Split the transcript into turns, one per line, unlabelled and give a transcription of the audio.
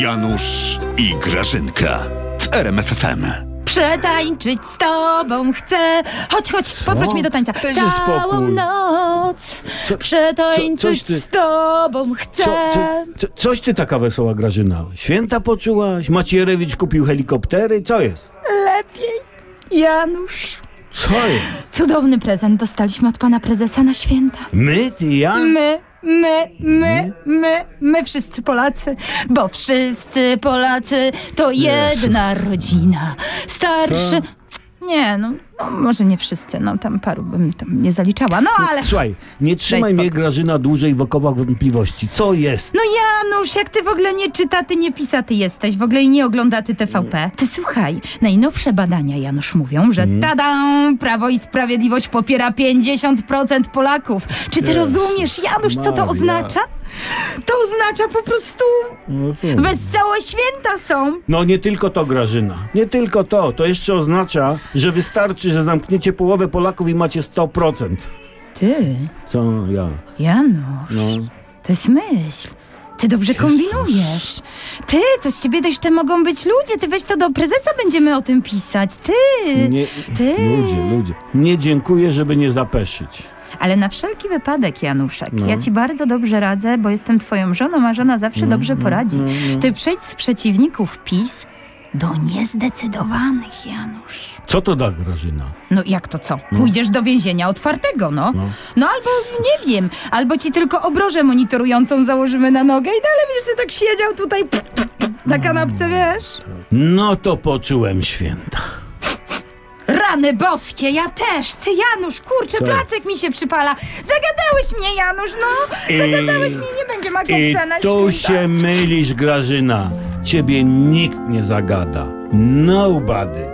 Janusz i Grażynka w RMFFM.
Przetańczyć z tobą chcę. Chodź, chodź, poproś
O,
mnie do tańca.
dajże
Całą
spokój.
noc
Co- co-
przetańczyć
coś ty-
z tobą chcę.
Co, co, co, coś ty taka wesoła, Grażyna. Święta poczułaś? Macierewicz kupił helikoptery? Co jest?
Lepiej. Janusz.
Co jest?
Cudowny prezent dostaliśmy od pana prezesa na święta.
My, ty, ja?
My, my, my, my, my wszyscy Polacy, bo wszyscy Polacy to jedna rodzina. Starszy. Nie, no, no może nie wszyscy, no tam paru bym tam nie zaliczała, no ale.
Słuchaj, nie trzymaj
spokój.
mnie, Grażyna, dłużej w okowach wątpliwości. Co jest?
No Janusz, jak ty w ogóle nie czyta, ty nie pisa, ty jesteś, w ogóle i nie ogląda ty TVP. Ty słuchaj, najnowsze badania, Janusz, mówią, że tada, Prawo i Sprawiedliwość popiera 50% Polaków. Czy ty
Jezus
rozumiesz, Janusz, co to
Maria.
oznacza? To oznacza po prostu wesołe święta są.
No nie tylko to, Grażyna. Nie tylko to. To jeszcze oznacza, że wystarczy, że zamkniecie połowę Polaków i macie 100%.
Ty,
Co ja?
Janusz,
No.
to jest myśl. Ty dobrze kombinujesz. Ty, to z ciebie jeszcze mogą być ludzie. Ty weź to do prezesa, będziemy o tym pisać. Ty.
Nie,
Ty.
ludzie, ludzie. Nie dziękuję, żeby nie zapeszyć.
Ale na wszelki wypadek, Januszek,
No.
ja ci bardzo dobrze radzę, bo jestem twoją żoną, a żona zawsze dobrze poradzi. Ty przejdź z przeciwników PiS do niezdecydowanych, Janusz.
Co to da, Grażyna?
No jak to co? Pójdziesz do więzienia otwartego, no.
No.
no. albo nie wiem, albo ci tylko obrożę monitorującą założymy na nogę i dalej będziesz ty tak siedział tutaj pff, pff, pff, na kanapce, wiesz?
No to poczułem święta.
Rany boskie, ja też! Ty, Janusz, kurczę,
Co?
placek mi się przypala! Zagadałeś mnie, Janusz, no!
I-
Zagadałeś mnie, nie będzie
I
makowca na
tu
święta.
się mylisz, Grażyna. Ciebie nikt nie zagada. Nobody.